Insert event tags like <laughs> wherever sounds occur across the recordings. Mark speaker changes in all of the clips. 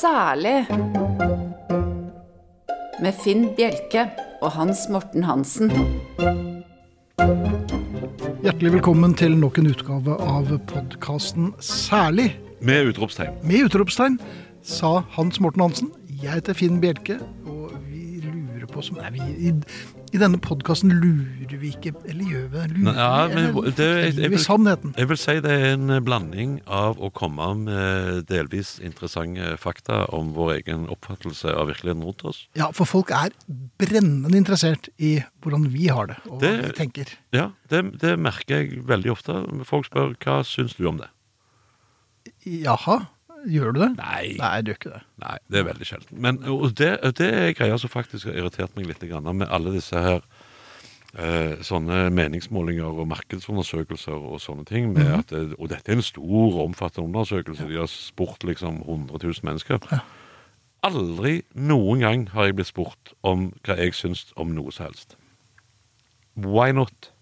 Speaker 1: Særlig med Finn Bjelke og Hans Morten Hansen.
Speaker 2: Hjertelig velkommen til nok en utgave av podkasten Særlig
Speaker 3: Med utropstegn.
Speaker 2: med utropstegn, sa Hans Morten Hansen. Jeg heter Finn Bjelke, og vi lurer på som Nei, vi, i, i denne podkasten lurer vi ikke Eller gjør vi det? Lurer
Speaker 3: Ja,
Speaker 2: vi,
Speaker 3: men
Speaker 2: eller
Speaker 3: det, jeg,
Speaker 2: forteller
Speaker 3: jeg,
Speaker 2: vi
Speaker 3: vil,
Speaker 2: sannheten?
Speaker 3: jeg vil si det er en blanding av å komme med delvis interessante fakta om vår egen oppfattelse av virkeligheten rundt oss.
Speaker 2: Ja, for folk er brennende interessert i hvordan vi har det, og hva vi
Speaker 3: Det-
Speaker 2: tenker.
Speaker 3: Ja, det, det merker jeg veldig ofte. Folk spør hva syns du om det?
Speaker 2: Jaha, gjør du det?
Speaker 3: Nei.
Speaker 2: Nei, du gjør ikke det.
Speaker 3: Nei, det er veldig sjelden. Men og det, og det er greia som faktisk har irritert meg litt grann, med alle disse her eh, sånne meningsmålinger og markedsundersøkelser og sånne ting. Med at, eh, og dette er en stor og omfattende undersøkelse. De har spurt liksom 100 000 mennesker. Aldri noen gang har jeg blitt spurt om hva jeg syns om noe som helst. Why not?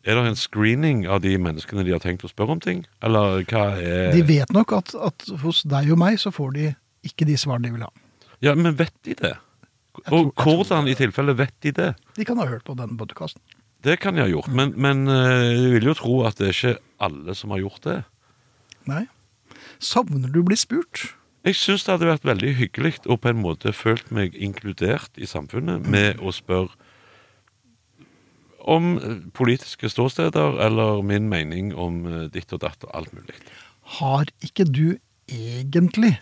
Speaker 3: Er det en screening av de menneskene de har tenkt å spørre om ting? Eller hva er
Speaker 2: De vet nok at, at hos deg og meg så får de ikke de svarene de vil ha.
Speaker 3: Ja, men vet de det?
Speaker 2: tror-
Speaker 3: Og
Speaker 2: jeg tror-
Speaker 3: hvordan i tilfelle vet de det?
Speaker 2: De kan ha hørt på denne podkasten.
Speaker 3: Det kan de ha gjort, men, men eh, jeg vil jo tro at det er ikke alle som har gjort det.
Speaker 2: Nei. Savner du å bli spurt?
Speaker 3: Jeg syns det hadde vært veldig hyggelig og på en måte følt meg inkludert i samfunnet med å spørre om eh, politiske ståsteder eller min mening om eh, ditt og datt og alt mulig.
Speaker 2: Har ikke du egentlig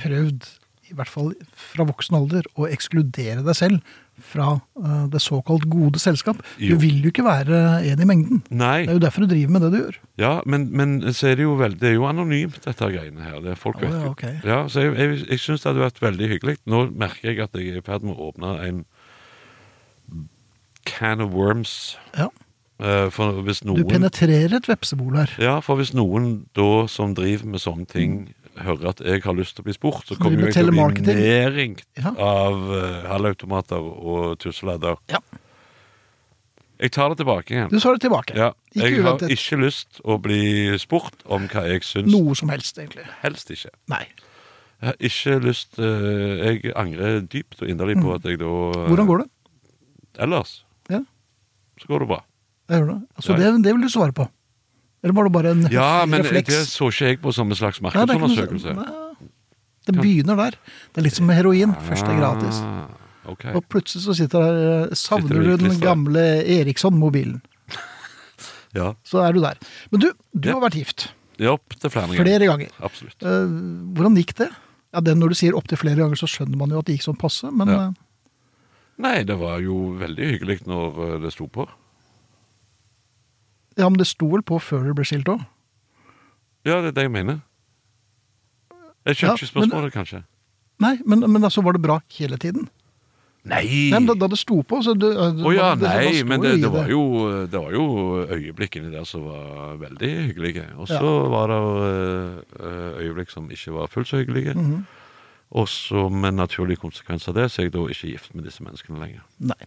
Speaker 2: prøvd, i hvert fall fra voksen alder, å ekskludere deg selv fra eh, det såkalt gode selskap?
Speaker 3: Jo.
Speaker 2: Du vil jo ikke være en i mengden.
Speaker 3: Nei.
Speaker 2: Det er jo derfor du driver med det du gjør.
Speaker 3: Ja, men, men så er det jo vel- det er jo anonymt, dette greiene her. Det er folk
Speaker 2: Å,
Speaker 3: vet
Speaker 2: ja,
Speaker 3: jo-
Speaker 2: ok.
Speaker 3: ja, Så jeg, jeg, jeg syns det hadde vært veldig hyggelig. Nå merker jeg at jeg er i ferd med å åpne en can of worms.
Speaker 2: Ja.
Speaker 3: eh, For hvis
Speaker 2: Du
Speaker 3: noen,
Speaker 2: penetrerer et vepsebol her.
Speaker 3: ja, for hvis noen da som driver med sånne ting, hører at jeg har lyst til å bli spurt, så kommer
Speaker 2: driver
Speaker 3: jeg til å bli
Speaker 2: med telemarketing.
Speaker 3: nedringt
Speaker 2: Ja.
Speaker 3: av eh, halvautomater og tusseladder.
Speaker 2: Ja.
Speaker 3: Jeg tar det tilbake igjen.
Speaker 2: Du svarer tilbake.
Speaker 3: Ja,
Speaker 2: ikke
Speaker 3: jeg har
Speaker 2: uventet.
Speaker 3: ikke lyst å bli spurt om hva jeg syns.
Speaker 2: Noe som helst, egentlig.
Speaker 3: Helst ikke.
Speaker 2: Nei.
Speaker 3: Jeg har ikke lyst eh, Jeg angrer dypt og inderlig på at jeg da
Speaker 2: Mm.
Speaker 3: eh,
Speaker 2: Hvordan går det?
Speaker 3: Ellers
Speaker 2: Ja,
Speaker 3: så går det bra.
Speaker 2: jeg hører det. Altså,
Speaker 3: Ja,
Speaker 2: det, det vil du svare på. Eller var det bare en
Speaker 3: Ja, men det
Speaker 2: refleks?
Speaker 3: så ikke jeg på som en slags
Speaker 2: Nei, det er ikke noe- sånn-
Speaker 3: markedsundersøkelse.
Speaker 2: Nei, Det begynner der. Det er litt som med heroin. Først er det gratis.
Speaker 3: Ah, ok.
Speaker 2: Og plutselig så sitter der eh, Savner
Speaker 3: Sitter du
Speaker 2: du den
Speaker 3: utlistet?
Speaker 2: gamle Eriksson-mobilen?
Speaker 3: Ja.
Speaker 2: Så er du der. Men du, du
Speaker 3: Ja.
Speaker 2: har vært gift
Speaker 3: ja opptil flere ganger.
Speaker 2: flere ganger.
Speaker 3: Absolutt.
Speaker 2: Eh, hvordan gikk det? Ja, det Når du sier opptil flere ganger, så skjønner man jo at det gikk sånn passe, men
Speaker 3: Ja.
Speaker 2: eh,
Speaker 3: Nei, det var jo veldig hyggelig når eh, det sto på.
Speaker 2: ja, men det sto vel på før dere ble skilt òg?
Speaker 3: Ja, det er det jeg mener. Jeg skjønner
Speaker 2: Ja,
Speaker 3: ikke
Speaker 2: men-
Speaker 3: spørsmålet, kanskje.
Speaker 2: Nei, men, men altså var det bra hele tiden?
Speaker 3: Nei!
Speaker 2: Nei, men da, da det sto på, så eh, det,
Speaker 3: Å ja, nei, men det, det, var jo, det var jo øyeblikk inni der som var veldig hyggelige. Og så var det eh, øyeblikk som ikke var fullt så hyggelige.
Speaker 2: Mhm.
Speaker 3: Og så med naturlig konsekvens av det, så er jeg da ikke gift med disse menneskene lenger.
Speaker 2: Nei.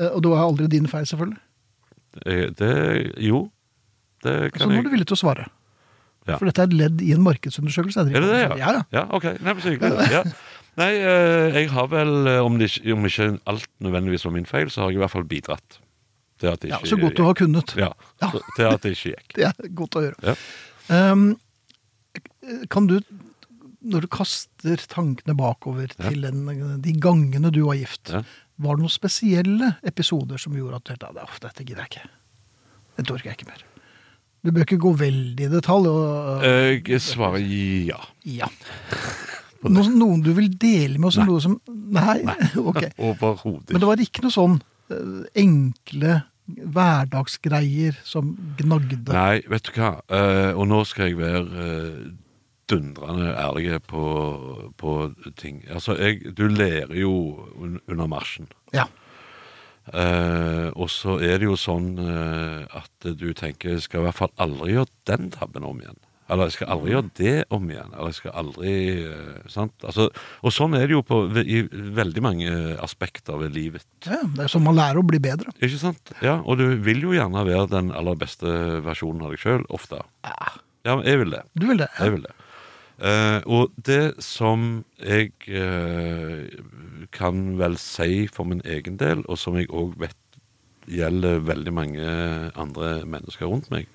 Speaker 2: Eh, Og det var aldri din feil, selvfølgelig.
Speaker 3: Eh, Det, jo, det
Speaker 2: Så
Speaker 3: kan
Speaker 2: Altså, nå
Speaker 3: jeg
Speaker 2: er du villig til å svare.
Speaker 3: Ja.
Speaker 2: For dette er et ledd i en markedsundersøkelse.
Speaker 3: Er det det, ja?
Speaker 2: ja? Ja, ja.
Speaker 3: ok. Nei, men så hyggelig. Ja. Nei, eh, jeg har vel, eh, om, det ikke, om ikke alt nødvendigvis var min feil, så har jeg i hvert fall bidratt. til at det
Speaker 2: Ja,
Speaker 3: ikke
Speaker 2: så godt du har kunnet.
Speaker 3: Ja,
Speaker 2: Ja.
Speaker 3: så- til at det ikke gikk.
Speaker 2: <laughs> Det er godt å høre.
Speaker 3: Ja.
Speaker 2: Ehm, kan du, når du kaster tankene bakover til en, de gangene du var gift,
Speaker 3: Ja.
Speaker 2: var det noen spesielle episoder som gjorde at du tenkte at dette gidder jeg ikke? Dette orker jeg ikke mer. Du bør ikke gå veldig i detalj. Og,
Speaker 3: Eh. Jeg svarer ja. <laughs>
Speaker 2: ja. Noen, noen du vil dele med oss om noe som Nei? <laughs> ok.
Speaker 3: Overhodet
Speaker 2: Men
Speaker 3: ikke.
Speaker 2: det var ikke noe sånn eh, enkle hverdagsgreier som gnagde.
Speaker 3: Nei, vet du hva. Eh, og nå skal jeg være eh, dundrende ærlig på, på ting. Altså, jeg, du ler jo un under marsjen.
Speaker 2: Ja.
Speaker 3: Eh, og så er det jo sånn eh, at du tenker jeg skal i hvert fall aldri gjøre den tabben om igjen. Eller jeg skal aldri gjøre det om igjen. Eller jeg skal aldri eh, sant? Altså, Og sånn er det jo på, i veldig mange aspekter ved livet.
Speaker 2: Ja, det er sånn man lærer å bli bedre.
Speaker 3: Ikke sant? Ja, Og du vil jo gjerne være den aller beste versjonen av deg sjøl, ofte. Ja, men jeg vil det.
Speaker 2: Du vil det?
Speaker 3: Jeg vil det. Eh, og det som jeg eh, kan vel si for min egen del, og som jeg òg vet gjelder veldig mange andre mennesker rundt meg,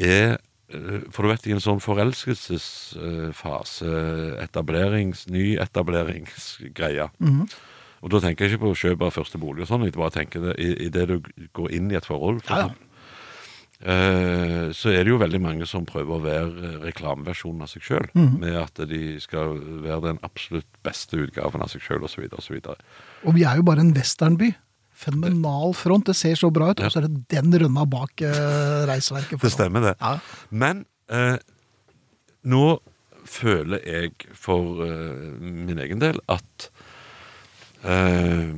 Speaker 3: er eh, For du vet, i en sånn forelskelsesfase, etablerings, nyetableringsgreie Og da tenker jeg ikke på å kjøpe første bolig og sånn, jeg bare tenker det i, i det du går inn i et forhold. For
Speaker 2: Ja, ja.
Speaker 3: eksempel, Eh, så er det jo veldig mange som prøver å være reklameversjonen av seg sjøl. Med at de skal være den absolutt beste utgaven av seg sjøl osv.
Speaker 2: Og vi er jo bare en westernby. Fenomenal front, det ser så bra ut. Og så er det den rønna bak eh, reisverket.
Speaker 3: Det stemmer, det.
Speaker 2: Ja.
Speaker 3: Men eh, nå føler jeg for eh, min egen del at eh,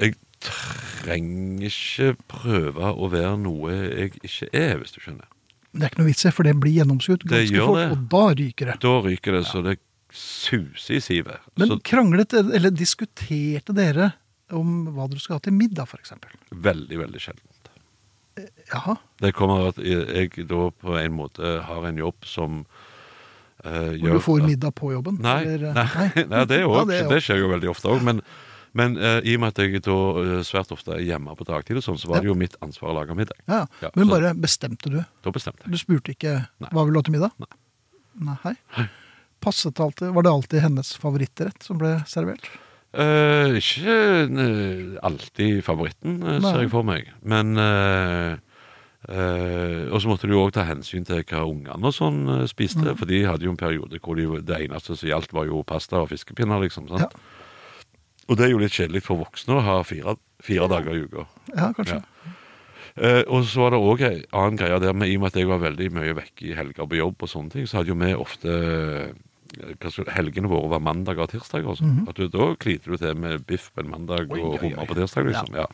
Speaker 3: Jeg trenger ikke prøve å være noe jeg ikke er, hvis du skjønner.
Speaker 2: Det er ikke noe vits i, for det blir gjennomskutt
Speaker 3: Det
Speaker 2: ganske
Speaker 3: gjør
Speaker 2: fort.
Speaker 3: det.
Speaker 2: Og da ryker det.
Speaker 3: Da ryker det så det suser i sivet.
Speaker 2: Men
Speaker 3: Så
Speaker 2: kranglet eller diskuterte dere om hva dere skulle ha til middag, f.eks.?
Speaker 3: veldig, veldig sjeldent.
Speaker 2: Jaha.
Speaker 3: Det kommer at jeg da på en måte har en jobb som eh,
Speaker 2: Hvor du får
Speaker 3: at-
Speaker 2: middag på jobben?
Speaker 3: Nei,
Speaker 2: eller- eh,
Speaker 3: nei, <laughs> nei det, er jo
Speaker 2: Ja,
Speaker 3: også-
Speaker 2: det er jo-
Speaker 3: det skjer jo veldig ofte òg. Men, men eh, i og med at jeg da eh, svært ofte er hjemme på dagtid, og sånn, så var det
Speaker 2: Ja.
Speaker 3: jo mitt ansvar å lage middag.
Speaker 2: Ja,
Speaker 3: Ja,
Speaker 2: Men
Speaker 3: så-
Speaker 2: bare bestemte du?
Speaker 3: Da bestemte jeg.
Speaker 2: Du spurte ikke
Speaker 3: Nei.
Speaker 2: hva vil du ha til middag?
Speaker 3: Nei.
Speaker 2: Nei. Passet det alltid, Var det alltid hennes favorittrett som ble servert?
Speaker 3: Eh, ikke eh, alltid favoritten, eh,
Speaker 2: Nei.
Speaker 3: ser jeg for meg. Men eh, eh, Og så måtte du jo òg ta hensyn til hva ungene og sånn eh, spiste.
Speaker 2: Mm.
Speaker 3: For de hadde jo en periode hvor de, det eneste som gjaldt, var jo pasta og fiskepinner. liksom, sant?
Speaker 2: Ja.
Speaker 3: Og det er jo litt kjedelig for voksne å ha fire, fire dager i uka.
Speaker 2: Ja, kanskje.
Speaker 3: Ja. Eh, og så var det òg en annen greie der med, i og med at jeg var veldig mye vekke i helger på jobb, og sånne ting, så hadde jo vi ofte eh, hva skal- Helgene våre var mandager og tirsdager. og sånn. At du- Da kliter du til med biff på en mandag
Speaker 2: Mhm. Oi, oi,
Speaker 3: og hummer
Speaker 2: oi.
Speaker 3: på tirsdag. liksom, ja.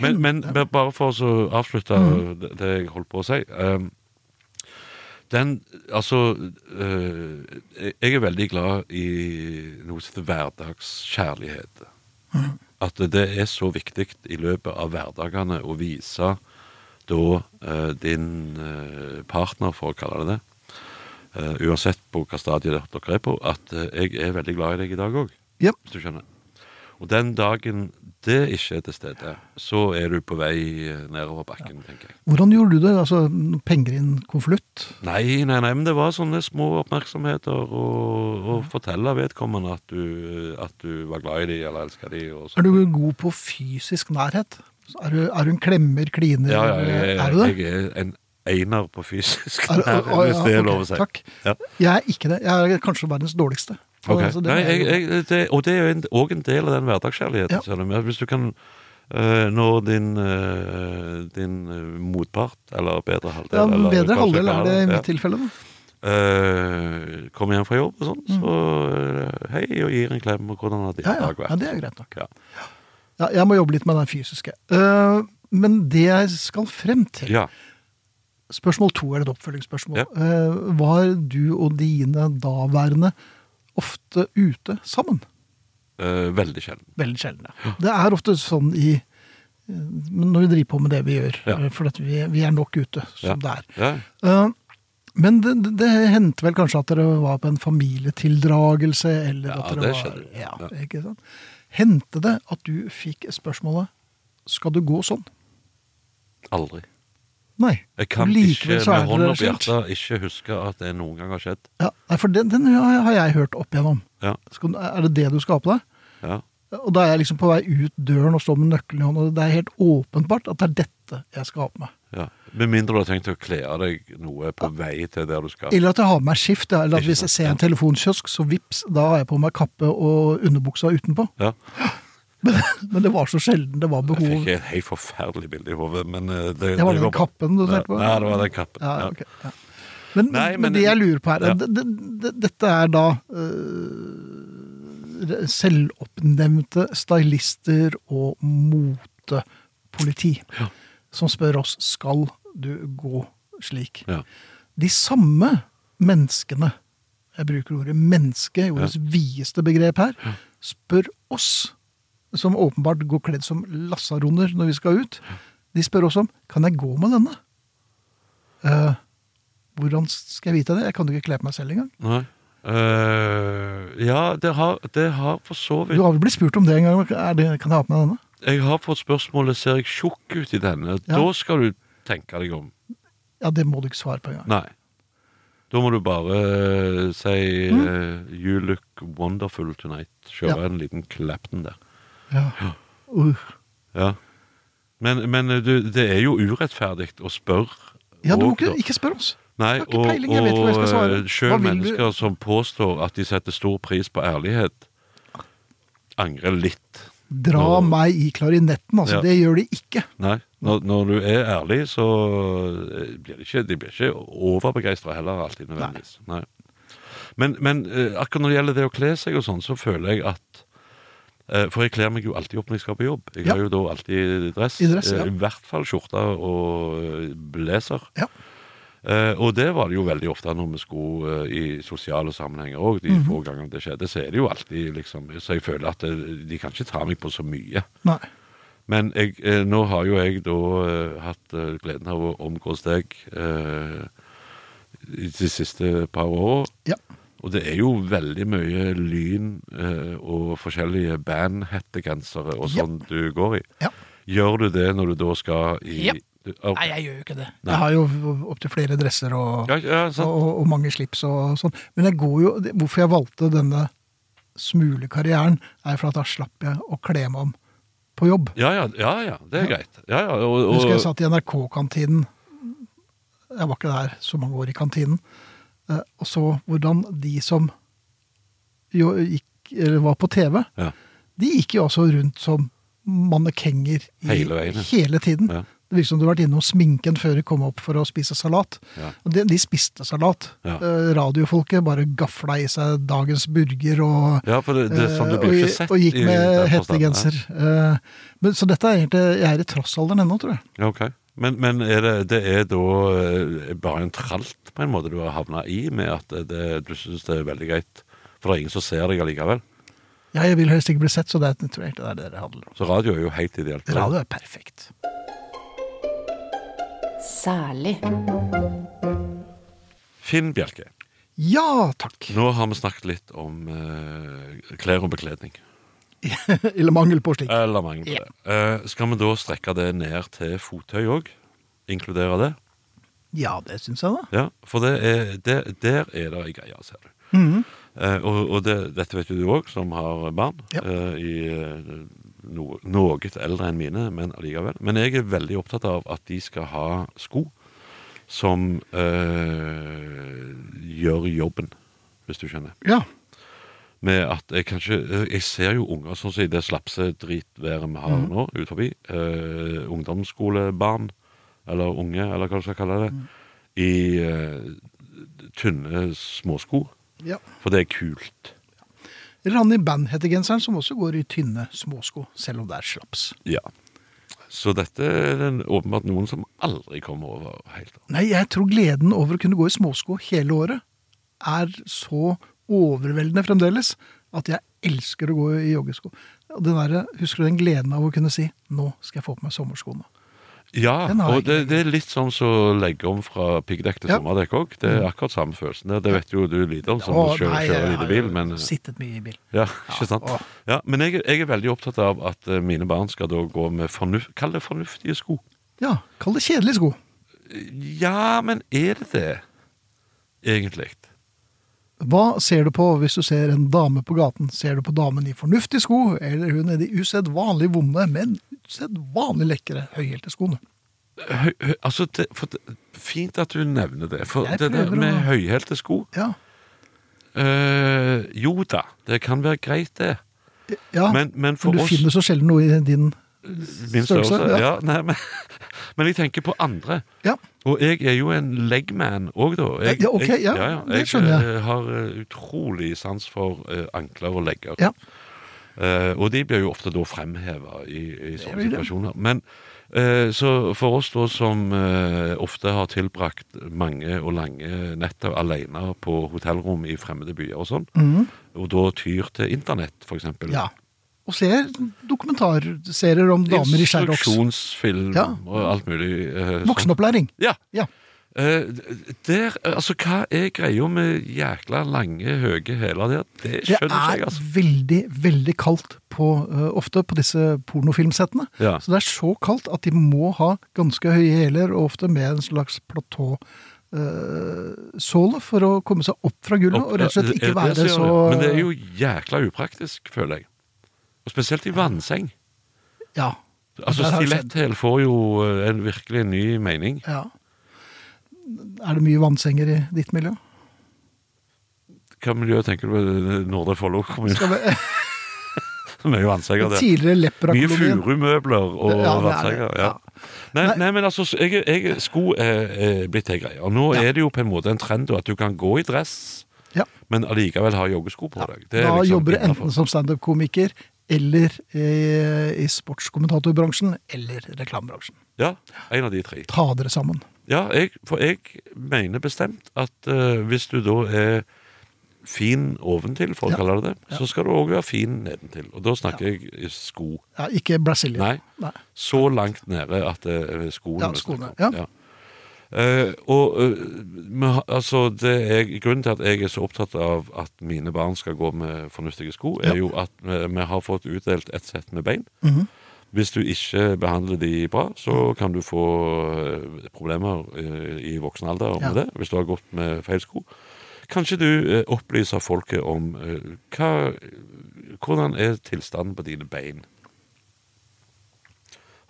Speaker 3: Men, men b- bare for å så avslutte
Speaker 2: Mhm.
Speaker 3: det, det jeg holdt på å si. ehm, den, altså eh, Jeg er veldig glad i noe som heter hverdagskjærlighet at det er så viktig i løpet av hverdagene å vise da eh, din eh, partner, for å kalle det det, eh, uansett på hva stadiet der dere er på, at eh, jeg er veldig glad i deg i dag òg,
Speaker 2: Ja.
Speaker 3: hvis du skjønner. Og den dagen det ikke er til stede, så er du på vei eh, nedover bakken, tenker jeg.
Speaker 2: Hvordan gjorde du det? Altså, Penger inn konvolutt?
Speaker 3: Nei, nei, nei, men det var sånne små oppmerksomheter og, og fortelle vedkommende at du, at du var glad i dem eller elska dem.
Speaker 2: Er du god på fysisk nærhet? Er du, er du en klemmer, kliner?
Speaker 3: Ja, ja, jeg,
Speaker 2: Eh, er du det?
Speaker 3: jeg er en einer på fysisk <laughs>
Speaker 2: Er-
Speaker 3: nærhet,
Speaker 2: å, å,
Speaker 3: hvis
Speaker 2: ja,
Speaker 3: det er
Speaker 2: ok,
Speaker 3: lov å si.
Speaker 2: takk.
Speaker 3: Ja.
Speaker 2: Jeg er ikke det. Jeg er kanskje verdens dårligste. Så,
Speaker 3: Ok.
Speaker 2: altså, det
Speaker 3: Nei,
Speaker 2: er
Speaker 3: jeg,
Speaker 2: jo-
Speaker 3: jeg, det, og det er jo en- òg en del av den hverdagskjærligheten.
Speaker 2: Ja.
Speaker 3: ser du, men Hvis du kan eh, Når din, eh, din eh, motpart, eller bedre halvdel
Speaker 2: ja,
Speaker 3: eller hva
Speaker 2: bedre
Speaker 3: jeg
Speaker 2: halvdel er
Speaker 3: kaller
Speaker 2: det i
Speaker 3: ja.
Speaker 2: mitt tilfelle. Da.
Speaker 3: Eh, Kommer hjem fra jobb og sånn, så eh, hei og gir en klem, og hvordan har din
Speaker 2: Ja, ja.
Speaker 3: dag vært?
Speaker 2: ja, det er greit nok.
Speaker 3: Ja.
Speaker 2: Ja, jeg må jobbe litt med den fysiske. Eh, men det jeg skal frem til
Speaker 3: ja.
Speaker 2: Spørsmål to er et oppfølgingsspørsmål.
Speaker 3: Ja.
Speaker 2: Eh, var du og dine daværende ofte ute sammen?
Speaker 3: eh, veldig sjelden.
Speaker 2: Veldig sjelden, ja. Det er ofte sånn i eh, men når vi driver på med det vi gjør.
Speaker 3: Ja.
Speaker 2: eh, For at vi, vi er nok ute som
Speaker 3: Ja.
Speaker 2: det er.
Speaker 3: Ja.
Speaker 2: Eh, men det, det, det hendte vel kanskje at dere var på en familietildragelse? Eller
Speaker 3: Ja,
Speaker 2: at dere
Speaker 3: det
Speaker 2: var,
Speaker 3: skjedde.
Speaker 2: ja,
Speaker 3: Ja.
Speaker 2: ikke sant? Hendte det at du fikk spørsmålet 'skal du gå sånn'?
Speaker 3: Aldri.
Speaker 2: Nei.
Speaker 3: Jeg kan
Speaker 2: Likevel
Speaker 3: ikke
Speaker 2: så er
Speaker 3: med hånda
Speaker 2: dere
Speaker 3: på
Speaker 2: skilt.
Speaker 3: hjertet ikke huske at det noen gang har skjedd.
Speaker 2: Ja, nei, for den, den har har jeg hørt opp igjennom.
Speaker 3: Ja,
Speaker 2: Skal, er det det du skal ha på deg?
Speaker 3: ja.
Speaker 2: Og da er jeg liksom på vei ut døren og står med nøkkelen i hånden, og det er helt åpenbart at det er dette jeg skal ha på meg.
Speaker 3: Ja. Med mindre du har tenkt å kle av deg noe på vei til der du skal.
Speaker 2: Eller at jeg har med meg skift, ja, eller at
Speaker 3: Ikke
Speaker 2: hvis jeg
Speaker 3: sant,
Speaker 2: ser en telefonkiosk, så vips, da har jeg på meg kappe og underbuksa utenpå. <laughs>
Speaker 3: Ja.
Speaker 2: Men, men det var så sjelden det var
Speaker 3: Jeg fikk
Speaker 2: behov.
Speaker 3: et helt forferdelig bilde i hodet, men eh, det,
Speaker 2: Det var
Speaker 3: går
Speaker 2: den
Speaker 3: bra.
Speaker 2: kappen du
Speaker 3: Ja,
Speaker 2: tenkte på?
Speaker 3: Nei, det var den kappen.
Speaker 2: Ja,
Speaker 3: Ja.
Speaker 2: ok, ja. Men,
Speaker 3: Nei,
Speaker 2: men,
Speaker 3: men-
Speaker 2: det jeg lurer på her,
Speaker 3: Ja.
Speaker 2: det, det, det, dette er da øh, selvoppnevnte stylister og motepoliti som spør oss skal du gå slik.
Speaker 3: Ja.
Speaker 2: De samme menneskene, jeg bruker ordet menneske i ordets videste begrep her, spør oss, som åpenbart går kledd som lassaroner når vi skal ut, de spør oss om kan jeg gå med denne? Eh, Hvordan skal jeg vite det? Jeg kan jo ikke kle på meg selv engang.
Speaker 3: Nei. Eh, ja, det har, det har for så
Speaker 2: Du
Speaker 3: vidt
Speaker 2: har vel blitt spurt om det en gang? Er det, kan jeg ha på meg denne?
Speaker 3: Jeg har fått spørsmålet ser jeg tjukk ut i denne.
Speaker 2: Ja.
Speaker 3: Da skal du tenke deg om.
Speaker 2: Ja, det må du ikke svare på engang.
Speaker 3: Nei. Da må du bare eh, si eh, You look wonderful tonight. Kjøre
Speaker 2: Mm. Ja.
Speaker 3: en liten Clapton der.
Speaker 2: Ja. Uh.
Speaker 3: Ja. Men, men eh, du, det er jo urettferdig å spørre.
Speaker 2: Ja, du må
Speaker 3: og da-
Speaker 2: ikke, ikke spørre oss.
Speaker 3: Nei,
Speaker 2: Jeg har ikke
Speaker 3: og,
Speaker 2: peiling, jeg vet ikke hva jeg skal svare.
Speaker 3: og eh, selv
Speaker 2: Hva vil du?
Speaker 3: mennesker som påstår at de setter stor pris på ærlighet, angrer litt.
Speaker 2: Dra
Speaker 3: Nå-
Speaker 2: meg i klarinetten, altså.
Speaker 3: Ja.
Speaker 2: Det gjør de ikke.
Speaker 3: Nei, når, når du er ærlig, så eh, blir de ikke, de blir ikke overbegeistra heller alltid nødvendigvis. Nei. Men, men eh, akkurat når det gjelder det å kle seg og sånn, så føler jeg at eh, For jeg kler meg jo alltid opp når jeg skal på jobb. Jeg
Speaker 2: Ja.
Speaker 3: har jo da alltid dress.
Speaker 2: I dress,
Speaker 3: eh,
Speaker 2: ja.
Speaker 3: I hvert fall skjorte og eh, blazer.
Speaker 2: Ja.
Speaker 3: Eh, og det var det jo veldig ofte når vi skulle eh, i sosiale sammenhenger òg. De
Speaker 2: Mhm.
Speaker 3: få gangene det skjedde, så er det jo alltid liksom Så jeg føler at eh, de kan ikke ta meg på så mye.
Speaker 2: Nei.
Speaker 3: Men jeg, eh, nå har jo jeg da eh, hatt eh, gleden av å omgås deg eh, i de siste par åra.
Speaker 2: Ja.
Speaker 3: Og det er jo veldig mye lyn eh, og forskjellige bandhettegensere og
Speaker 2: Ja.
Speaker 3: sånn du går i.
Speaker 2: Ja.
Speaker 3: Gjør du det når du da skal i
Speaker 2: Ja.
Speaker 3: Du- ok.
Speaker 2: Nei, jeg gjør jo ikke det.
Speaker 3: Nei.
Speaker 2: Jeg har jo opptil flere dresser og,
Speaker 3: Ja, ja, sant.
Speaker 2: og, og mange slips og sånn. Men jeg går jo, det- hvorfor jeg valgte denne smulekarrieren, er for at da slapp jeg å kle meg om på jobb.
Speaker 3: Ja, ja, ja, ja, det er greit. Ja, ja, og, og,
Speaker 2: Husker jeg satt i NRK-kantinen. Jeg var ikke der så mange år i kantinen. Eh, Og så hvordan de som jo gikk, eller var på TV,
Speaker 3: ja.
Speaker 2: de gikk jo altså rundt som mannekenger i,
Speaker 3: Hele veien, ja.
Speaker 2: hele tiden.
Speaker 3: Ja.
Speaker 2: Det virker som du har vært innom sminken før de kom opp for å spise salat.
Speaker 3: Ja.
Speaker 2: Og de, de spiste salat.
Speaker 3: Ja.
Speaker 2: Eh, radiofolket bare gafla i seg dagens burger og
Speaker 3: ja, for det, det er sånn du
Speaker 2: eh,
Speaker 3: blir
Speaker 2: og-
Speaker 3: ikke sett
Speaker 2: Og gikk
Speaker 3: i
Speaker 2: med
Speaker 3: den forstand.
Speaker 2: hettegenser. Eh, men- Så dette er egentlig Jeg er i trossalderen ennå, tror jeg.
Speaker 3: Ja, ok. Men, men er det, det er da eh, bare en tralt på en måte du har havna i, med at det, du syns det er veldig greit? For det er ingen som ser deg allikevel.
Speaker 2: Ja, jeg vil helst ikke bli sett, så det er, tror jeg egentlig det er det det handler om.
Speaker 3: Så radio er jo helt ideelt. for deg.
Speaker 2: Radio er perfekt.
Speaker 1: Særlig.
Speaker 3: Finn Bjelke,
Speaker 2: Ja, takk. <laughs>
Speaker 3: nå har vi snakket litt om eh, klær og bekledning.
Speaker 2: Eller mangel på slik.
Speaker 3: Eller mangel på det. Eh, skal vi da strekke det ned til fottøy òg? Inkludere det?
Speaker 2: Ja, det syns jeg, da.
Speaker 3: Ja, for det er, det, der er det ei greie, ser du.
Speaker 2: Mhm.
Speaker 3: Eh, og og det, dette vet jo du òg, som har barn.
Speaker 2: Ja.
Speaker 3: eh, i, eh, no, noe eldre enn mine, men allikevel. Men jeg er veldig opptatt av at de skal ha sko som eh, gjør jobben, hvis du skjønner.
Speaker 2: Ja.
Speaker 3: Med at jeg kanskje eh, Jeg ser jo unger sånn som i det slapse dritværet vi har nå ut forbi. Eh, ungdomsskolebarn, eller unge, eller hva du skal kalle det. I eh, tynne småsko.
Speaker 2: ja.
Speaker 3: For det er kult.
Speaker 2: Eller han i bandhettegenseren som også går i tynne småsko, selv om det er slaps.
Speaker 3: Ja. Så dette er det åpenbart noen som aldri kommer over helt.
Speaker 2: Nei, jeg tror gleden over å kunne gå i småsko hele året er så overveldende fremdeles at jeg elsker å gå i joggesko. Og Den der, husker du den gleden av å kunne si 'nå skal jeg få på meg sommerskoene'?
Speaker 3: Ja,
Speaker 2: Den har jeg
Speaker 3: og det,
Speaker 2: ikke.
Speaker 3: det er litt sånn som å legge om fra piggdekk til
Speaker 2: Ja. Mm.
Speaker 3: sommerdekk òg. Det er akkurat samme følelsen. der. Det vet jo du lite om, som
Speaker 2: Å,
Speaker 3: kjører,
Speaker 2: nei,
Speaker 3: kjører
Speaker 2: jeg
Speaker 3: lite
Speaker 2: har
Speaker 3: bil.
Speaker 2: jo
Speaker 3: Men,
Speaker 2: Sittet mye i bil.
Speaker 3: Ja, ikke sant?
Speaker 2: åh.
Speaker 3: Ja, men jeg, jeg er veldig opptatt av at eh, mine barn skal da gå med fornuf kall det fornuftige sko.
Speaker 2: Ja, kall det kjedelige sko.
Speaker 3: Ja, men er det det, egentlig?
Speaker 2: Hva ser du på hvis du ser en dame på gaten? Ser du på damen i fornuftige sko, eller hun i de usedvanlig vonde, men usedvanlig lekre høyhælte skoene?
Speaker 3: Høy, høy, altså, det, for, det- fint at du nevner det. For
Speaker 2: Jeg
Speaker 3: det der
Speaker 2: prøver
Speaker 3: med
Speaker 2: å-
Speaker 3: høyhælte sko
Speaker 2: Ja.
Speaker 3: eh, Jo da, det kan være greit, det.
Speaker 2: ja.
Speaker 3: Men, men for
Speaker 2: du
Speaker 3: oss
Speaker 2: finner så sjelden noe i din
Speaker 3: Min størrelse.
Speaker 2: størrelse, ja.
Speaker 3: Ja, nei, men, <laughs> men jeg tenker på andre.
Speaker 2: Ja.
Speaker 3: Og jeg er jo en legman òg, da.
Speaker 2: Ja, ok, ja, det
Speaker 3: jeg,
Speaker 2: skjønner jeg.
Speaker 3: eh, har eh, utrolig sans for eh, ankler og legger.
Speaker 2: Ja.
Speaker 3: Eh, og de blir jo ofte da fremheva i, i sånne
Speaker 2: blir det.
Speaker 3: situasjoner. Men eh, så for oss da som eh, ofte har tilbrakt mange og lange netter alene på hotellrom i fremmede byer og sånn,
Speaker 2: Mhm.
Speaker 3: og da tyr til internett, for eksempel.
Speaker 2: Ja. Og ser dokumentarserier om damer i skjærroks.
Speaker 3: Instruksjonsfilm
Speaker 2: Ja.
Speaker 3: og alt mulig. eh, sånn.
Speaker 2: Voksenopplæring.
Speaker 3: Ja.
Speaker 2: Ja.
Speaker 3: Eh, der, altså, Hva er greia med jækla lange, høye hæler der? Det
Speaker 2: Det
Speaker 3: skjønner ikke
Speaker 2: er
Speaker 3: jeg, altså.
Speaker 2: veldig, veldig kaldt på, eh, ofte på disse pornofilmsettene.
Speaker 3: Ja.
Speaker 2: Så det er så kaldt at de må ha ganske høye hæler, og ofte med en slags platåsåle for å komme seg opp fra gulvet, og rett og slett
Speaker 3: Er det
Speaker 2: ikke
Speaker 3: det som
Speaker 2: være
Speaker 3: gjør
Speaker 2: så
Speaker 3: det? Men det er jo jækla upraktisk, føler jeg. Og spesielt i vannseng.
Speaker 2: Ja.
Speaker 3: Altså,
Speaker 2: Der har det skjedd.
Speaker 3: Stiletthæl får jo eh, en virkelig en ny mening.
Speaker 2: ja. Er det mye vannsenger i ditt miljø?
Speaker 3: Hva miljø tenker du på? Nordre Follo kommune?
Speaker 2: Skal vi,
Speaker 3: <laughs> Mye vannsenger der.
Speaker 2: tidligere
Speaker 3: Mye
Speaker 2: Lepra-kolonien.
Speaker 3: furumøbler og
Speaker 2: Ja, det er det.
Speaker 3: vannsenger. Ja.
Speaker 2: Ja.
Speaker 3: Nei,
Speaker 2: Nei.
Speaker 3: nei, men altså, så jeg, jeg skulle eh, eh, blitt ei greie. Og nå
Speaker 2: Ja.
Speaker 3: er det jo på en måte en trend da, at du kan gå i dress,
Speaker 2: Ja.
Speaker 3: men allikevel ha joggesko på deg. Det er
Speaker 2: Da
Speaker 3: liksom
Speaker 2: jobber du
Speaker 3: innenfor.
Speaker 2: enten som standup-komiker eller eh, i, i sportskommentatorbransjen eller reklamebransjen.
Speaker 3: Ja, en av de tre.
Speaker 2: Ta dere sammen.
Speaker 3: Ja, jeg, for jeg mener bestemt at eh, hvis du da er fin oventil, for å
Speaker 2: Ja.
Speaker 3: kalle det det, så skal du òg være fin nedentil. Og da snakker jeg i sko.
Speaker 2: Ja, ikke Brazilian.
Speaker 3: Nei. Så langt nede at det er skoene.
Speaker 2: Ja,
Speaker 3: vi snakker
Speaker 2: skoene,
Speaker 3: om.
Speaker 2: ja.
Speaker 3: Eh, og eh, vi har- altså, det er, grunnen til at jeg er så opptatt av at mine barn skal gå med fornuftige sko, er
Speaker 2: Ja.
Speaker 3: jo at vi, vi har fått utdelt et sett med bein.
Speaker 2: Mhm.
Speaker 3: Hvis du ikke behandler de bra, så kan du få eh, problemer eh, i voksen alder med
Speaker 2: Ja.
Speaker 3: det, hvis du har gått med feil sko. Kanskje du eh, opplyser folket om eh, hva, hvordan er tilstanden på dine bein?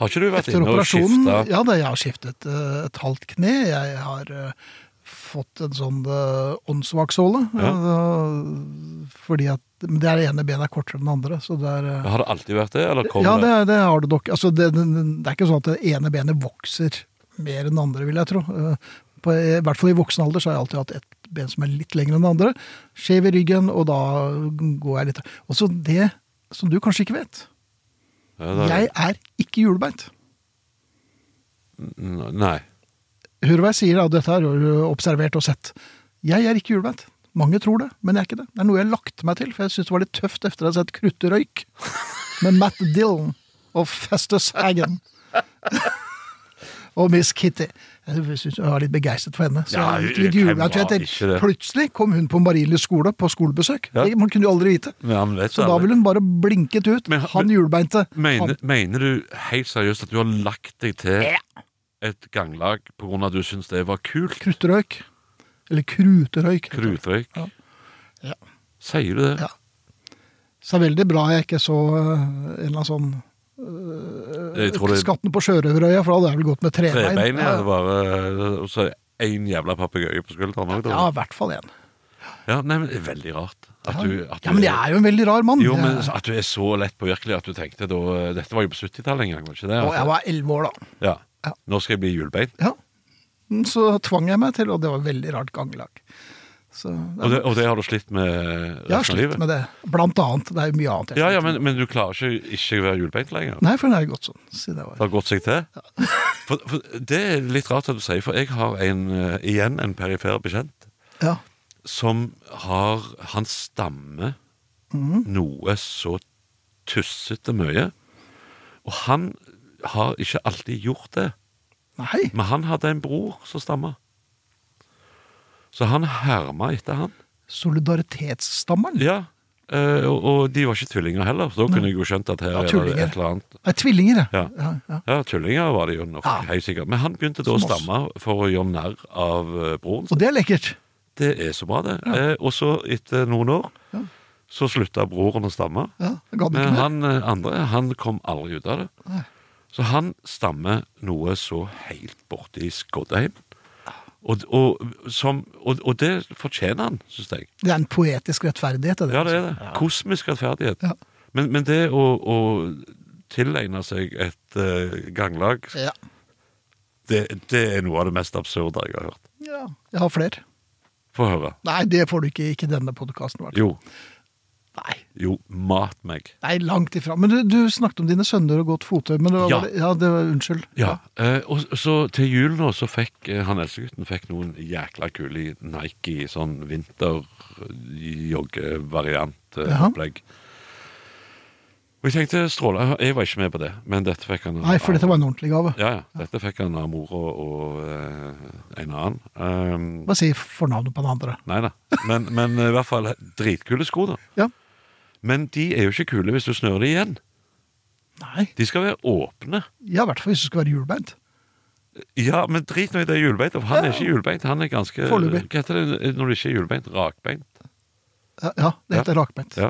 Speaker 3: Har ikke du vært
Speaker 2: Etter
Speaker 3: inne og
Speaker 2: operasjonen
Speaker 3: skifta
Speaker 2: Ja da, jeg har skiftet eh, et halvt kne. Jeg har eh, fått en sånn eh, åndssvaksåle. eh, fordi at Men det er det ene benet er kortere enn det andre, så det er eh,
Speaker 3: Har det alltid vært det, eller kommer
Speaker 2: Ja, det,
Speaker 3: det?
Speaker 2: er- det har du nok. Altså, det, det, det er ikke sånn at det ene benet vokser mer enn det andre, vil jeg tro. Eh, På, I hvert fall i voksen alder så har jeg alltid hatt ett ben som er litt lengre enn det andre. Skjev i ryggen, og da går jeg litt Og så det som du kanskje ikke vet.
Speaker 3: Ja, det er-
Speaker 2: Jeg er ikke julebeint.
Speaker 3: N- Nei.
Speaker 2: Hører hva jeg sier, da. Dette har du observert og sett. Jeg er ikke julebeint. Mange tror det, men jeg er ikke det. Det er noe jeg lagte meg til, for jeg syntes det var litt tøft etter å ha sett Krutterøyk med Matt Dillon og Festus Hagen. og Miss Kitty. Jeg synes jeg var litt begeistret for henne. Så
Speaker 3: Ja,
Speaker 2: jeg gikk litt
Speaker 3: hvem
Speaker 2: julebeint.
Speaker 3: var
Speaker 2: for jeg
Speaker 3: ikke det?
Speaker 2: tenkte, Plutselig kom hun på Marienlyst skole på skolebesøk.
Speaker 3: Ja.
Speaker 2: Det man kunne jo aldri vite.
Speaker 3: Men han vet
Speaker 2: Så da
Speaker 3: aldri.
Speaker 2: ville hun bare blinket ut.
Speaker 3: Men-
Speaker 2: han julebeinte.
Speaker 3: mener,
Speaker 2: han-
Speaker 3: mener du helt seriøst at du har lagt deg til et ganglag på grunn av at du syns det var kult?
Speaker 2: Krutterøyk. Eller Kruterøyk. heter det.
Speaker 3: Krutrøyk?
Speaker 2: Ja. Ja.
Speaker 3: Sier du det?
Speaker 2: Ja. Så det er veldig bra jeg ikke så øh, en eller annen sånn
Speaker 3: Jeg tror det er
Speaker 2: Skatten på Sjørøverøya, for da hadde jeg vel gått med trebein.
Speaker 3: trebein, ja. Det
Speaker 2: ja,
Speaker 3: var, eh, og så én jævla papegøye på skulderen òg,
Speaker 2: ja,
Speaker 3: da.
Speaker 2: i hvert fall én.
Speaker 3: Ja, nei, men det er veldig rart at du at
Speaker 2: Ja, men
Speaker 3: du-
Speaker 2: jeg er jo en veldig rar mann.
Speaker 3: Jo, men
Speaker 2: Jeg-
Speaker 3: at du er så lett påvirkelig at du tenkte da Dette var jo på 70-tallet en gang, var det ikke det?
Speaker 2: Og jeg var elleve år da.
Speaker 3: ja.
Speaker 2: Ja.
Speaker 3: Nå skal jeg bli hjulbein.
Speaker 2: Ja. Mm, Så tvang jeg meg til, og det var veldig rart ganglag. Så
Speaker 3: Og, det- og det har du slitt med
Speaker 2: jeg har
Speaker 3: resten av
Speaker 2: slitt
Speaker 3: livet?
Speaker 2: med det. Blant annet. Det er jo mye annet. jeg
Speaker 3: Ja,
Speaker 2: sliter
Speaker 3: ja, men, men du klarer ikke ikke å være hjulbeint lenger?
Speaker 2: med. Nei, for den er jo gått sånn. Siden jeg var.
Speaker 3: Det har gått seg til? For, for Det er litt rart at du sier, for jeg har en, eh, igjen en perifer bekjent
Speaker 2: Ja.
Speaker 3: som har Han stammer
Speaker 2: Mm.
Speaker 3: noe så tussete mye. Og han har ikke alltid gjort det.
Speaker 2: Nei.
Speaker 3: Men han hadde en bror som stamma. Så han herma etter han.
Speaker 2: Solidaritetsstammeren.
Speaker 3: Ja, eh, og, og de var ikke tvillinger heller, så da kunne jeg jo skjønt at her
Speaker 2: Ja,
Speaker 3: er det
Speaker 2: tullinger.
Speaker 3: et eller annet.
Speaker 2: Nei, tvillinger, ja.
Speaker 3: Ja.
Speaker 2: ja, ja.
Speaker 3: Ja, tullinger var det jo nok,
Speaker 2: Ja.
Speaker 3: helt sikkert. Men han begynte da å
Speaker 2: Som oss.
Speaker 3: stamme for å gjøre narr av eh, broren sin.
Speaker 2: Og det er lekkert.
Speaker 3: Det er så bra, det.
Speaker 2: Ja.
Speaker 3: Eh, og så, etter noen år,
Speaker 2: Ja.
Speaker 3: så slutta broren å stamme.
Speaker 2: Ja, det ga den
Speaker 3: Men
Speaker 2: ikke mer.
Speaker 3: han eh, andre, han kom aldri ut av det.
Speaker 2: Nei.
Speaker 3: Så han stammer noe så helt borte i Skodheim. Og, og, som, og, og det fortjener han, syns jeg.
Speaker 2: Det er en poetisk rettferdighet.
Speaker 3: Ja, det er
Speaker 2: altså.
Speaker 3: det. Kosmisk rettferdighet.
Speaker 2: Ja.
Speaker 3: Men, men det å, å tilegne seg et eh, ganglag,
Speaker 2: Ja.
Speaker 3: det, det er noe av det mest absurde jeg har hørt.
Speaker 2: ja. Jeg har flere.
Speaker 3: Få høre.
Speaker 2: Nei, det får du ikke. Ikke i denne podkasten.
Speaker 3: Jo,
Speaker 2: Nei.
Speaker 3: jo, mat meg.
Speaker 2: Nei, langt ifra. Men du, du snakket om dine sønner og godt fottøy. Men det var,
Speaker 3: Ja.
Speaker 2: bare- ja, det var, unnskyld.
Speaker 3: Ja, eh, og så til jul nå så fikk eh, han eldstegutten fikk noen jækla kule Nike sånn vinterjoggevariant eh,
Speaker 2: Jaha.
Speaker 3: opplegg. Og jeg tenkte strålende. Jeg var ikke med på det, men dette fikk han av-
Speaker 2: Nei, for dette var en ordentlig gave.
Speaker 3: Ja, ja. Dette fikk han av mora og eh, en annen. Um,
Speaker 2: Bare si fornavnet på den andre.
Speaker 3: Nei da. Men, men eh, i hvert fall dritkule sko, da.
Speaker 2: Ja.
Speaker 3: Men de er jo ikke kule hvis du snører de igjen.
Speaker 2: Nei,
Speaker 3: De skal være åpne.
Speaker 2: ja, i hvert fall hvis du skal være hjulbeint.
Speaker 3: Ja, men drit nå i det hjulbeint. for Han er ikke hjulbeint. Han er ganske
Speaker 2: Foreløpig.
Speaker 3: Hva heter det når du ikke er hjulbeint? Rakbeint.
Speaker 2: Ja, ja, det heter rakbeint.
Speaker 3: Ja.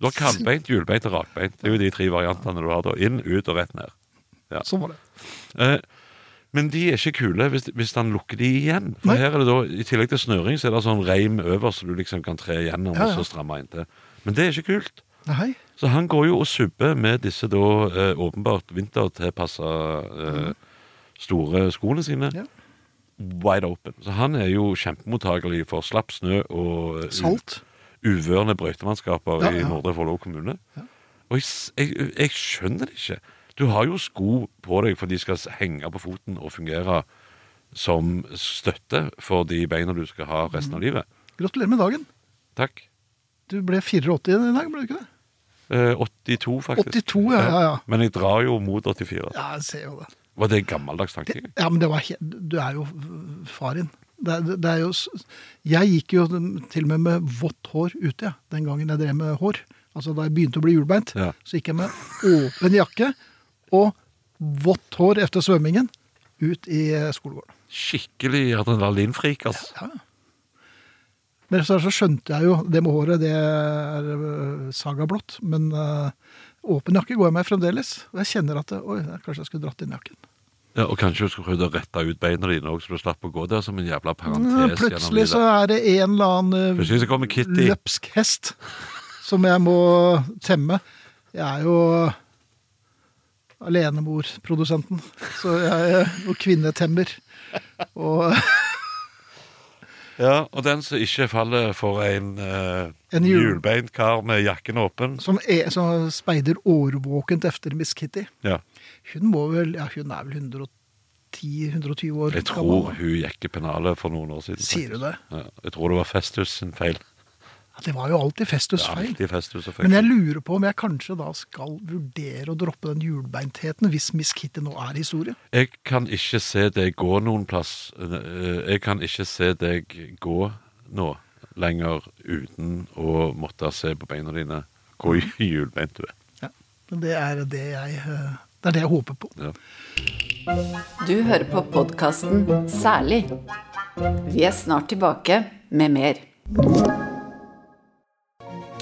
Speaker 3: Du har kantbeint, hjulbeint og rakbeint. Det er jo de tre variantene du har da. Inn, ut og rett ned. Ja.
Speaker 2: Sånn var det.
Speaker 3: Eh, men de er ikke kule hvis, hvis han lukker de igjen. For
Speaker 2: Nei.
Speaker 3: her er det da, I tillegg til snøring så er det sånn reim over, så du liksom kan tre igjennom
Speaker 2: Ja,
Speaker 3: og
Speaker 2: ja.
Speaker 3: så stramme inntil. Men det er ikke kult.
Speaker 2: Nei,
Speaker 3: Så han går jo og subber med disse da eh, åpenbart vintertilpassa eh, store skoene sine.
Speaker 2: Mm. Ja.
Speaker 3: Wide open. Så han er jo kjempemottakelig for slapp snø og eh,
Speaker 2: salt.
Speaker 3: u- uvørne brøytemannskaper
Speaker 2: Ja,
Speaker 3: i
Speaker 2: ja.
Speaker 3: Nordre Follo kommune. Og jeg, s- jeg, jeg skjønner det ikke. Du har jo sko på deg for de skal s- henge på foten og fungere som støtte for de beina du skal ha resten
Speaker 2: Mm.
Speaker 3: av livet.
Speaker 2: Gratulerer med dagen.
Speaker 3: Takk.
Speaker 2: Du ble 84 i dag, ble du ikke det?
Speaker 3: Eh, 82, faktisk.
Speaker 2: 82, ja, ja, ja.
Speaker 3: Men jeg drar jo mot 84.
Speaker 2: Ja, jeg ser jo det.
Speaker 3: Var det en gammeldags
Speaker 2: det
Speaker 3: tankegang?
Speaker 2: ja, men det var he- Du er jo far din. Det, er- det er jo s- Jeg gikk jo til og med med vått hår ute, ja, den gangen jeg drev med hår. Altså da jeg begynte å bli hjulbeint.
Speaker 3: Ja.
Speaker 2: Så gikk jeg med åpen jakke og vått hår etter svømmingen ut i eh, skolegården.
Speaker 3: Skikkelig adrenalinfrik, altså.
Speaker 2: Ja. Men så, så skjønte jeg jo det med håret, det er øh, saga blått. Men øh, åpen jakke går jeg med fremdeles. Og jeg kjenner at øh, oi, kanskje jeg skulle dratt inn jakken.
Speaker 3: Ja, og kanskje du skulle prøvd å rette ut beina dine òg, så du slapp å gå der som en jævla parentes. gjennom
Speaker 2: Plutselig
Speaker 3: livet.
Speaker 2: så er det en eller annen øh,
Speaker 3: Plutselig så kommer Kitty.
Speaker 2: løpsk hest som jeg må temme. Jeg er jo alenemor-produsenten, så jeg er jo kvinnetemmer. Og
Speaker 3: Ja, og den som ikke faller for en, eh,
Speaker 2: En hjul-
Speaker 3: hjulbeint kar med jakken åpen.
Speaker 2: som, er, som speider årvåkent efter Miss Kitty.
Speaker 3: Ja.
Speaker 2: Hun må vel, ja hun er vel 110-120 år
Speaker 3: Jeg tror hun gikk i pennalet for noen år siden.
Speaker 2: Sier du
Speaker 3: faktisk.
Speaker 2: det?
Speaker 3: Ja, jeg tror det var Festus sin feil.
Speaker 2: Ja, det var jo alltid Festus
Speaker 3: Ja,
Speaker 2: feil.
Speaker 3: alltid Festus og
Speaker 2: Men jeg
Speaker 3: feil.
Speaker 2: lurer på om jeg kanskje da skal vurdere å droppe den hjulbeintheten hvis Miss Kitty nå er historie.
Speaker 3: Jeg kan ikke se deg gå noen plass. eh, Jeg kan ikke se deg gå nå lenger uten å måtte se på beina dine hvor <laughs> hjulbeint du er.
Speaker 2: Men det er det jeg, eh, det er det jeg håper på.
Speaker 3: Ja.
Speaker 1: Du hører på podkasten Særlig. Vi er snart tilbake med mer.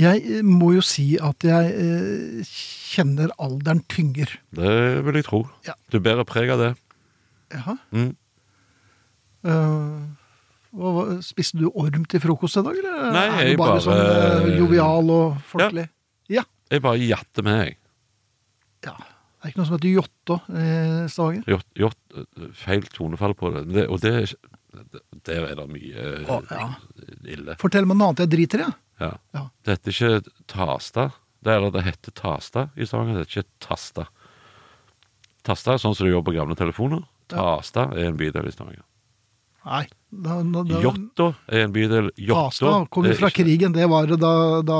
Speaker 2: Jeg eh, må jo si at jeg eh, kjenner alderen tynger.
Speaker 3: Det vil jeg tro.
Speaker 2: Ja.
Speaker 3: Du bærer preg av det.
Speaker 2: Jaha.
Speaker 3: Mm.
Speaker 2: Eh, hva, hva- spiste du orm til frokost i dag, eller?
Speaker 3: Nei,
Speaker 2: er du
Speaker 3: jeg
Speaker 2: bare,
Speaker 3: bare-
Speaker 2: sånn eh, jovial og folkelig? Ja.
Speaker 3: Jeg bare jatter med, jeg.
Speaker 2: ja. Det er ikke noe som heter jåttå i Stavanger.
Speaker 3: gjort, gjort eh, feil tonefall på det. Men det og det, der er det mye eh,
Speaker 2: Å, ja.
Speaker 3: ille.
Speaker 2: Fortell meg noe annet jeg driter i. jeg.
Speaker 3: Ja.
Speaker 2: Ja.
Speaker 3: Det heter ikke Tasta. Det, er, det heter Tasta i Stavanger. Det heter ikke Tasta. Tasta er sånn som du gjør på gamle telefoner. Tasta er en bydel i Stavanger.
Speaker 2: Nei. Da, da, da,
Speaker 3: Jåttå er en bydel. Jåttå
Speaker 2: Astad kom jo
Speaker 3: er
Speaker 2: fra
Speaker 3: eh, ikke-
Speaker 2: krigen. Det var da, da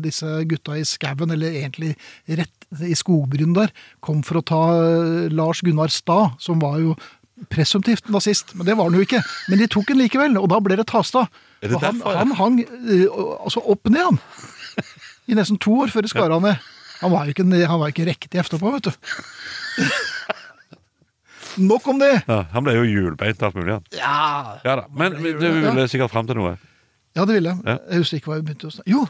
Speaker 2: disse gutta i skauen, eller egentlig rett i skogbryn der, kom for å ta eh, Lars Gunnar Stad, som var jo presumptivt nazist. Men det var han jo ikke. Men de tok han likevel, og da ble det Tasta.
Speaker 3: Er det
Speaker 2: Og han,
Speaker 3: derfor, ja?
Speaker 2: han hang eh, altså opp ned, han. I nesten to år før de skar han ned. Han var jo ikke, han var jo ikke riktig etterpå, vet du. <laughs> Nok om det.
Speaker 3: Ja, han ble jo hjulbeint og alt mulig. han.
Speaker 2: Ja,
Speaker 3: Ja da. Men
Speaker 2: ble
Speaker 3: men du
Speaker 2: hjulbeint, ja.
Speaker 3: ville sikkert fram til noe.
Speaker 2: Ja, det ville jeg.
Speaker 3: Ja.
Speaker 2: Jeg husker ikke hva jeg begynte å snakke Jo!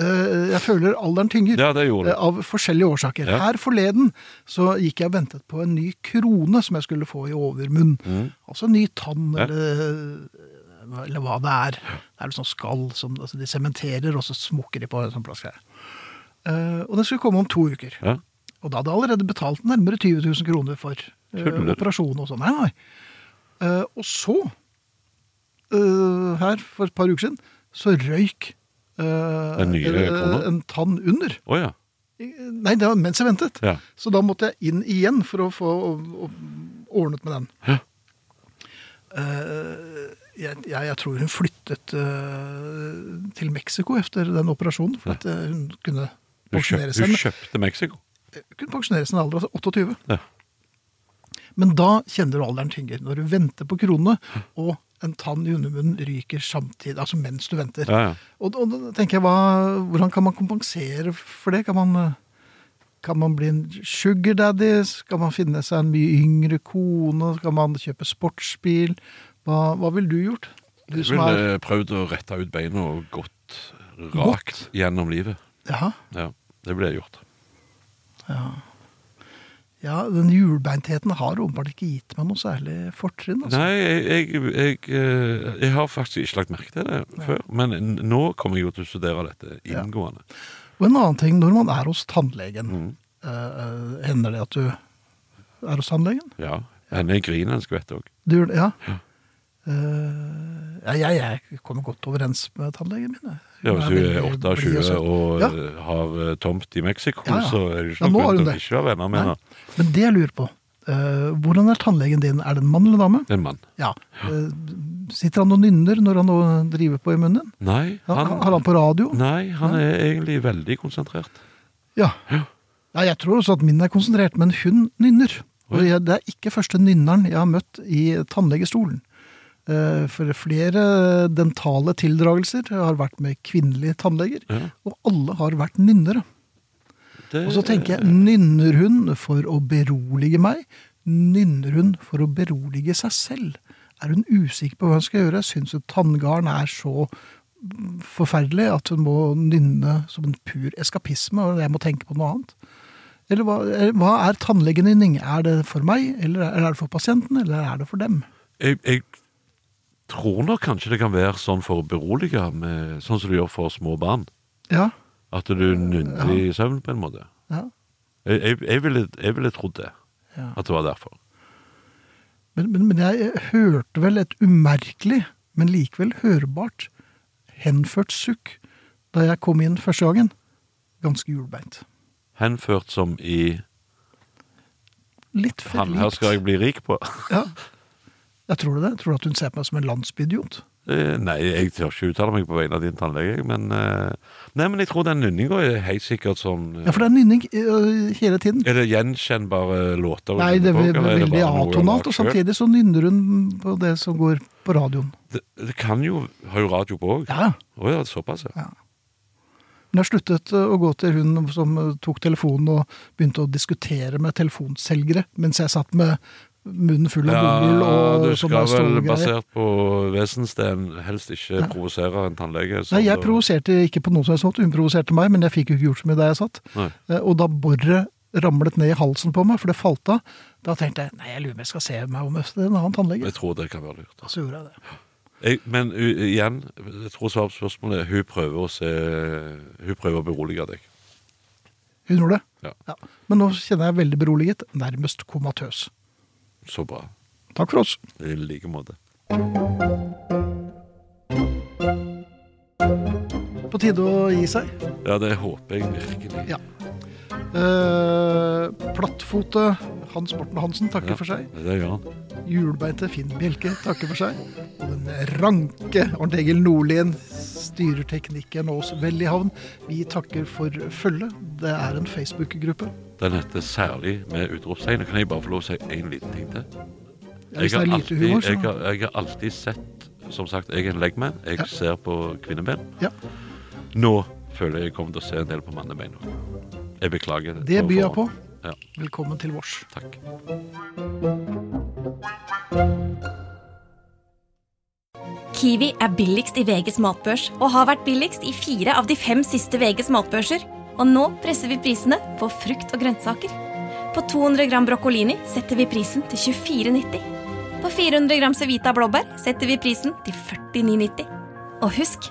Speaker 2: Eh, Jeg føler alderen tynger.
Speaker 3: Ja, det gjorde
Speaker 2: Eh,
Speaker 3: du.
Speaker 2: Av forskjellige årsaker.
Speaker 3: Ja.
Speaker 2: Her forleden så gikk jeg og ventet på en ny krone som jeg skulle få i overmunn. Altså en ny tann
Speaker 3: Mm. Ja.
Speaker 2: eller eller hva det er. Det er noe sånn skall som altså de sementerer, og så smukker de på en sånn plastgreie. Eh, og den skulle komme om to uker.
Speaker 3: Ja.
Speaker 2: Og da hadde jeg allerede betalt nærmere 20 000 kroner for uh,
Speaker 3: Tuller du?
Speaker 2: operasjon og sånn. Nei, nei. Eh, og så, eh, her for et par uker siden, så røyk eh,
Speaker 3: Den nye
Speaker 2: eh,
Speaker 3: kona?
Speaker 2: en tann under.
Speaker 3: Å ja.
Speaker 2: Eh, Nei, det var mens jeg ventet.
Speaker 3: Ja.
Speaker 2: Så da måtte jeg inn igjen for å få å- å- ordnet med den.
Speaker 3: Hæ?
Speaker 2: Eh, jeg, jeg, jeg tror hun flyttet eh, til Mexico etter den operasjonen, for at eh, hun kunne
Speaker 3: Hun, kjøp,
Speaker 2: pensjonere seg.
Speaker 3: hun kjøpte Mexico.
Speaker 2: Kunne pensjonere sin alder, altså 28.
Speaker 3: Ja.
Speaker 2: Men da kjenner du alderen tynger. Når du venter på kronene, og en tann i undermunnen ryker samtidig, altså mens du venter.
Speaker 3: Ja, ja.
Speaker 2: Og, og da tenker jeg, hva, hvordan kan man kompensere for det? Kan man, eh, kan man bli en sugar daddy? Skal man finne seg en mye yngre kone? Skal man kjøpe sportsbil? Hva, hva ville du gjort? Du
Speaker 3: Hun
Speaker 2: som er
Speaker 3: ville prøvd å rette ut beina og gått rakt gjennom livet.
Speaker 2: ja,
Speaker 3: Ja, det ble gjort.
Speaker 2: ja, den hjulbeintheten har åpenbart ikke gitt meg noe særlig fortrinn. Altså.
Speaker 3: Nei, jeg, jeg, jeg, eh, jeg har faktisk ikke lagt merke til det før, men n- nå kommer jeg jo til å studere dette
Speaker 2: Ja.
Speaker 3: inngående.
Speaker 2: Og en annen ting, når man er hos tannlegen,
Speaker 3: Mhm.
Speaker 2: eh, eh, hender det at du er hos tannlegen?
Speaker 3: Ja, Henne griner en skvett òg.
Speaker 2: Du gjør det, ja. Eh, ja, jeg, jeg kommer godt overens med tannlegen min. jeg.
Speaker 3: Ja, hvis hun er
Speaker 2: veldig blid
Speaker 3: 28
Speaker 2: søt.
Speaker 3: og
Speaker 2: Ja.
Speaker 3: eh, har eh, tomt i Mexico,
Speaker 2: Ja, ja.
Speaker 3: så er det
Speaker 2: Ja, nå
Speaker 3: ikke noe
Speaker 2: har hun
Speaker 3: grunn til å
Speaker 2: det.
Speaker 3: ikke være venner med
Speaker 2: Nei.
Speaker 3: henne.
Speaker 2: Men det jeg lurer på, eh, hvordan er tannlegen din? Er det en mann eller dame?
Speaker 3: En mann.
Speaker 2: Ja. Eh, sitter han og nynner når han nå driver på i munnen?
Speaker 3: Nei,
Speaker 2: Ja,
Speaker 3: han,
Speaker 2: har han på radio?
Speaker 3: nei, han er egentlig veldig konsentrert.
Speaker 2: Ja. ja. Jeg tror også at min er konsentrert, men hun nynner. Og
Speaker 3: Oi.
Speaker 2: jeg, det er ikke første nynneren jeg har møtt i tannlegestolen. Eh, For flere dentale tildragelser har vært med kvinnelige tannleger,
Speaker 3: Ja.
Speaker 2: og alle har vært nynnere.
Speaker 3: Det-
Speaker 2: Og så tenker jeg, nynner hun for å berolige meg? Nynner hun for å berolige seg selv? Er hun usikker på hva hun skal gjøre? Syns hun tanngarn er så forferdelig at hun må nynne som en pur eskapisme, og jeg må tenke på noe annet? Eller hva, eller hva er tannlegenynning? Er det for meg, eller er det for pasienten, eller er det for dem?
Speaker 3: jeg, jeg tror nok kanskje det kan være sånn for å berolige, med, sånn som du gjør for små barn.
Speaker 2: Ja,
Speaker 3: At du
Speaker 2: Eh,
Speaker 3: nynner i søvn på en måte.
Speaker 2: ja.
Speaker 3: Jeg, jeg, jeg, ville, jeg ville trodd det.
Speaker 2: Ja.
Speaker 3: At det var derfor.
Speaker 2: Men, men, men jeg hørte vel et umerkelig, men likevel hørbart, henført sukk da jeg kom inn første gangen. Ganske hjulbeint.
Speaker 3: Henført som i
Speaker 2: Litt for
Speaker 3: Han her
Speaker 2: likt.
Speaker 3: skal jeg bli rik på. <laughs>
Speaker 2: Ja. Jeg tror det. Jeg tror at hun ser på meg som en landsbyidiot.
Speaker 3: Eh, Nei, jeg tør ikke uttale meg på vegne av din tannlege, jeg, men eh, Nei, men jeg tror den nynninga er helt sikkert sånn eh,
Speaker 2: Ja, for det er nynning øh, hele tiden.
Speaker 3: Er det gjenkjennbare låter? hun
Speaker 2: Nei, det er
Speaker 3: nynner på,
Speaker 2: ve-
Speaker 3: eller
Speaker 2: veldig
Speaker 3: bare noe hun har
Speaker 2: atonalt, og
Speaker 3: lagd selv?
Speaker 2: samtidig så nynner hun på det som går på radioen.
Speaker 3: det, det kan jo Har jo radio på òg?
Speaker 2: Ja,
Speaker 3: Å ja, såpass, ja.
Speaker 2: Hun har sluttet øh, å gå til hun som øh, tok telefonen og begynte å diskutere med telefonselgere, mens jeg satt med munnen full av bomull og
Speaker 3: du
Speaker 2: sånne
Speaker 3: skal vel
Speaker 2: stålgreier.
Speaker 3: basert på vesensten helst ikke provosere en tannlege. som
Speaker 2: Nei, jeg
Speaker 3: det-
Speaker 2: provoserte ikke på noen som helst måte. Hun provoserte meg, men jeg fikk jo ikke gjort så mye der jeg satt.
Speaker 3: Nei.
Speaker 2: Eh, Og da boret ramlet ned i halsen på meg, for det falt av, da tenkte jeg nei, jeg lurer på om jeg skal se meg om etter en annen tannlege.
Speaker 3: Jeg tror det kan være lurt. altså.
Speaker 2: Og så gjorde jeg det.
Speaker 3: Jeg, men u, igjen, jeg tror svaret på spørsmålet er hun prøver å se Hun prøver å berolige deg.
Speaker 2: Hun gjorde det.
Speaker 3: Ja,
Speaker 2: Ja. Men nå kjenner jeg veldig beroliget, nærmest komatøs.
Speaker 3: Så bra.
Speaker 2: Takk for oss.
Speaker 3: I like måte.
Speaker 2: På tide å gi seg.
Speaker 3: Ja, det håper jeg virkelig.
Speaker 2: Ja. Eh, plattfote Hans Morten Hansen takker for seg.
Speaker 3: Det gjør han.
Speaker 2: Hjulbeinte Finn Bjelke takker for seg. Og den ranke Arnt Egil Nordlien styrer teknikken og oss vel i havn. Vi takker for følget. Det er en Facebook-gruppe.
Speaker 3: Den heter Særlig med utropstegn. Kan jeg bare få lov å si én liten ting til?
Speaker 2: Ja, Hvis det er lite
Speaker 3: alltid,
Speaker 2: humor,
Speaker 3: jeg,
Speaker 2: så
Speaker 3: har, jeg har alltid sett Som sagt, jeg er en leggmann. Jeg
Speaker 2: Ja.
Speaker 3: ser på kvinnebein.
Speaker 2: Ja.
Speaker 3: Nå føler jeg jeg kommer til å se en del på mannebein. nå. Jeg beklager.
Speaker 2: Det byr jeg
Speaker 3: forhånd. Ja,
Speaker 2: velkommen til vårs.
Speaker 3: takk.
Speaker 4: Kiwi er billigst i VGs matbørs og har vært billigst i fire av de fem siste VGs matbørser. Og nå presser vi prisene på frukt og grønnsaker. På 200 gram broccolini setter vi prisen til 24,90. På 400 gram Cevita blåbær setter vi prisen til 49,90. Og husk,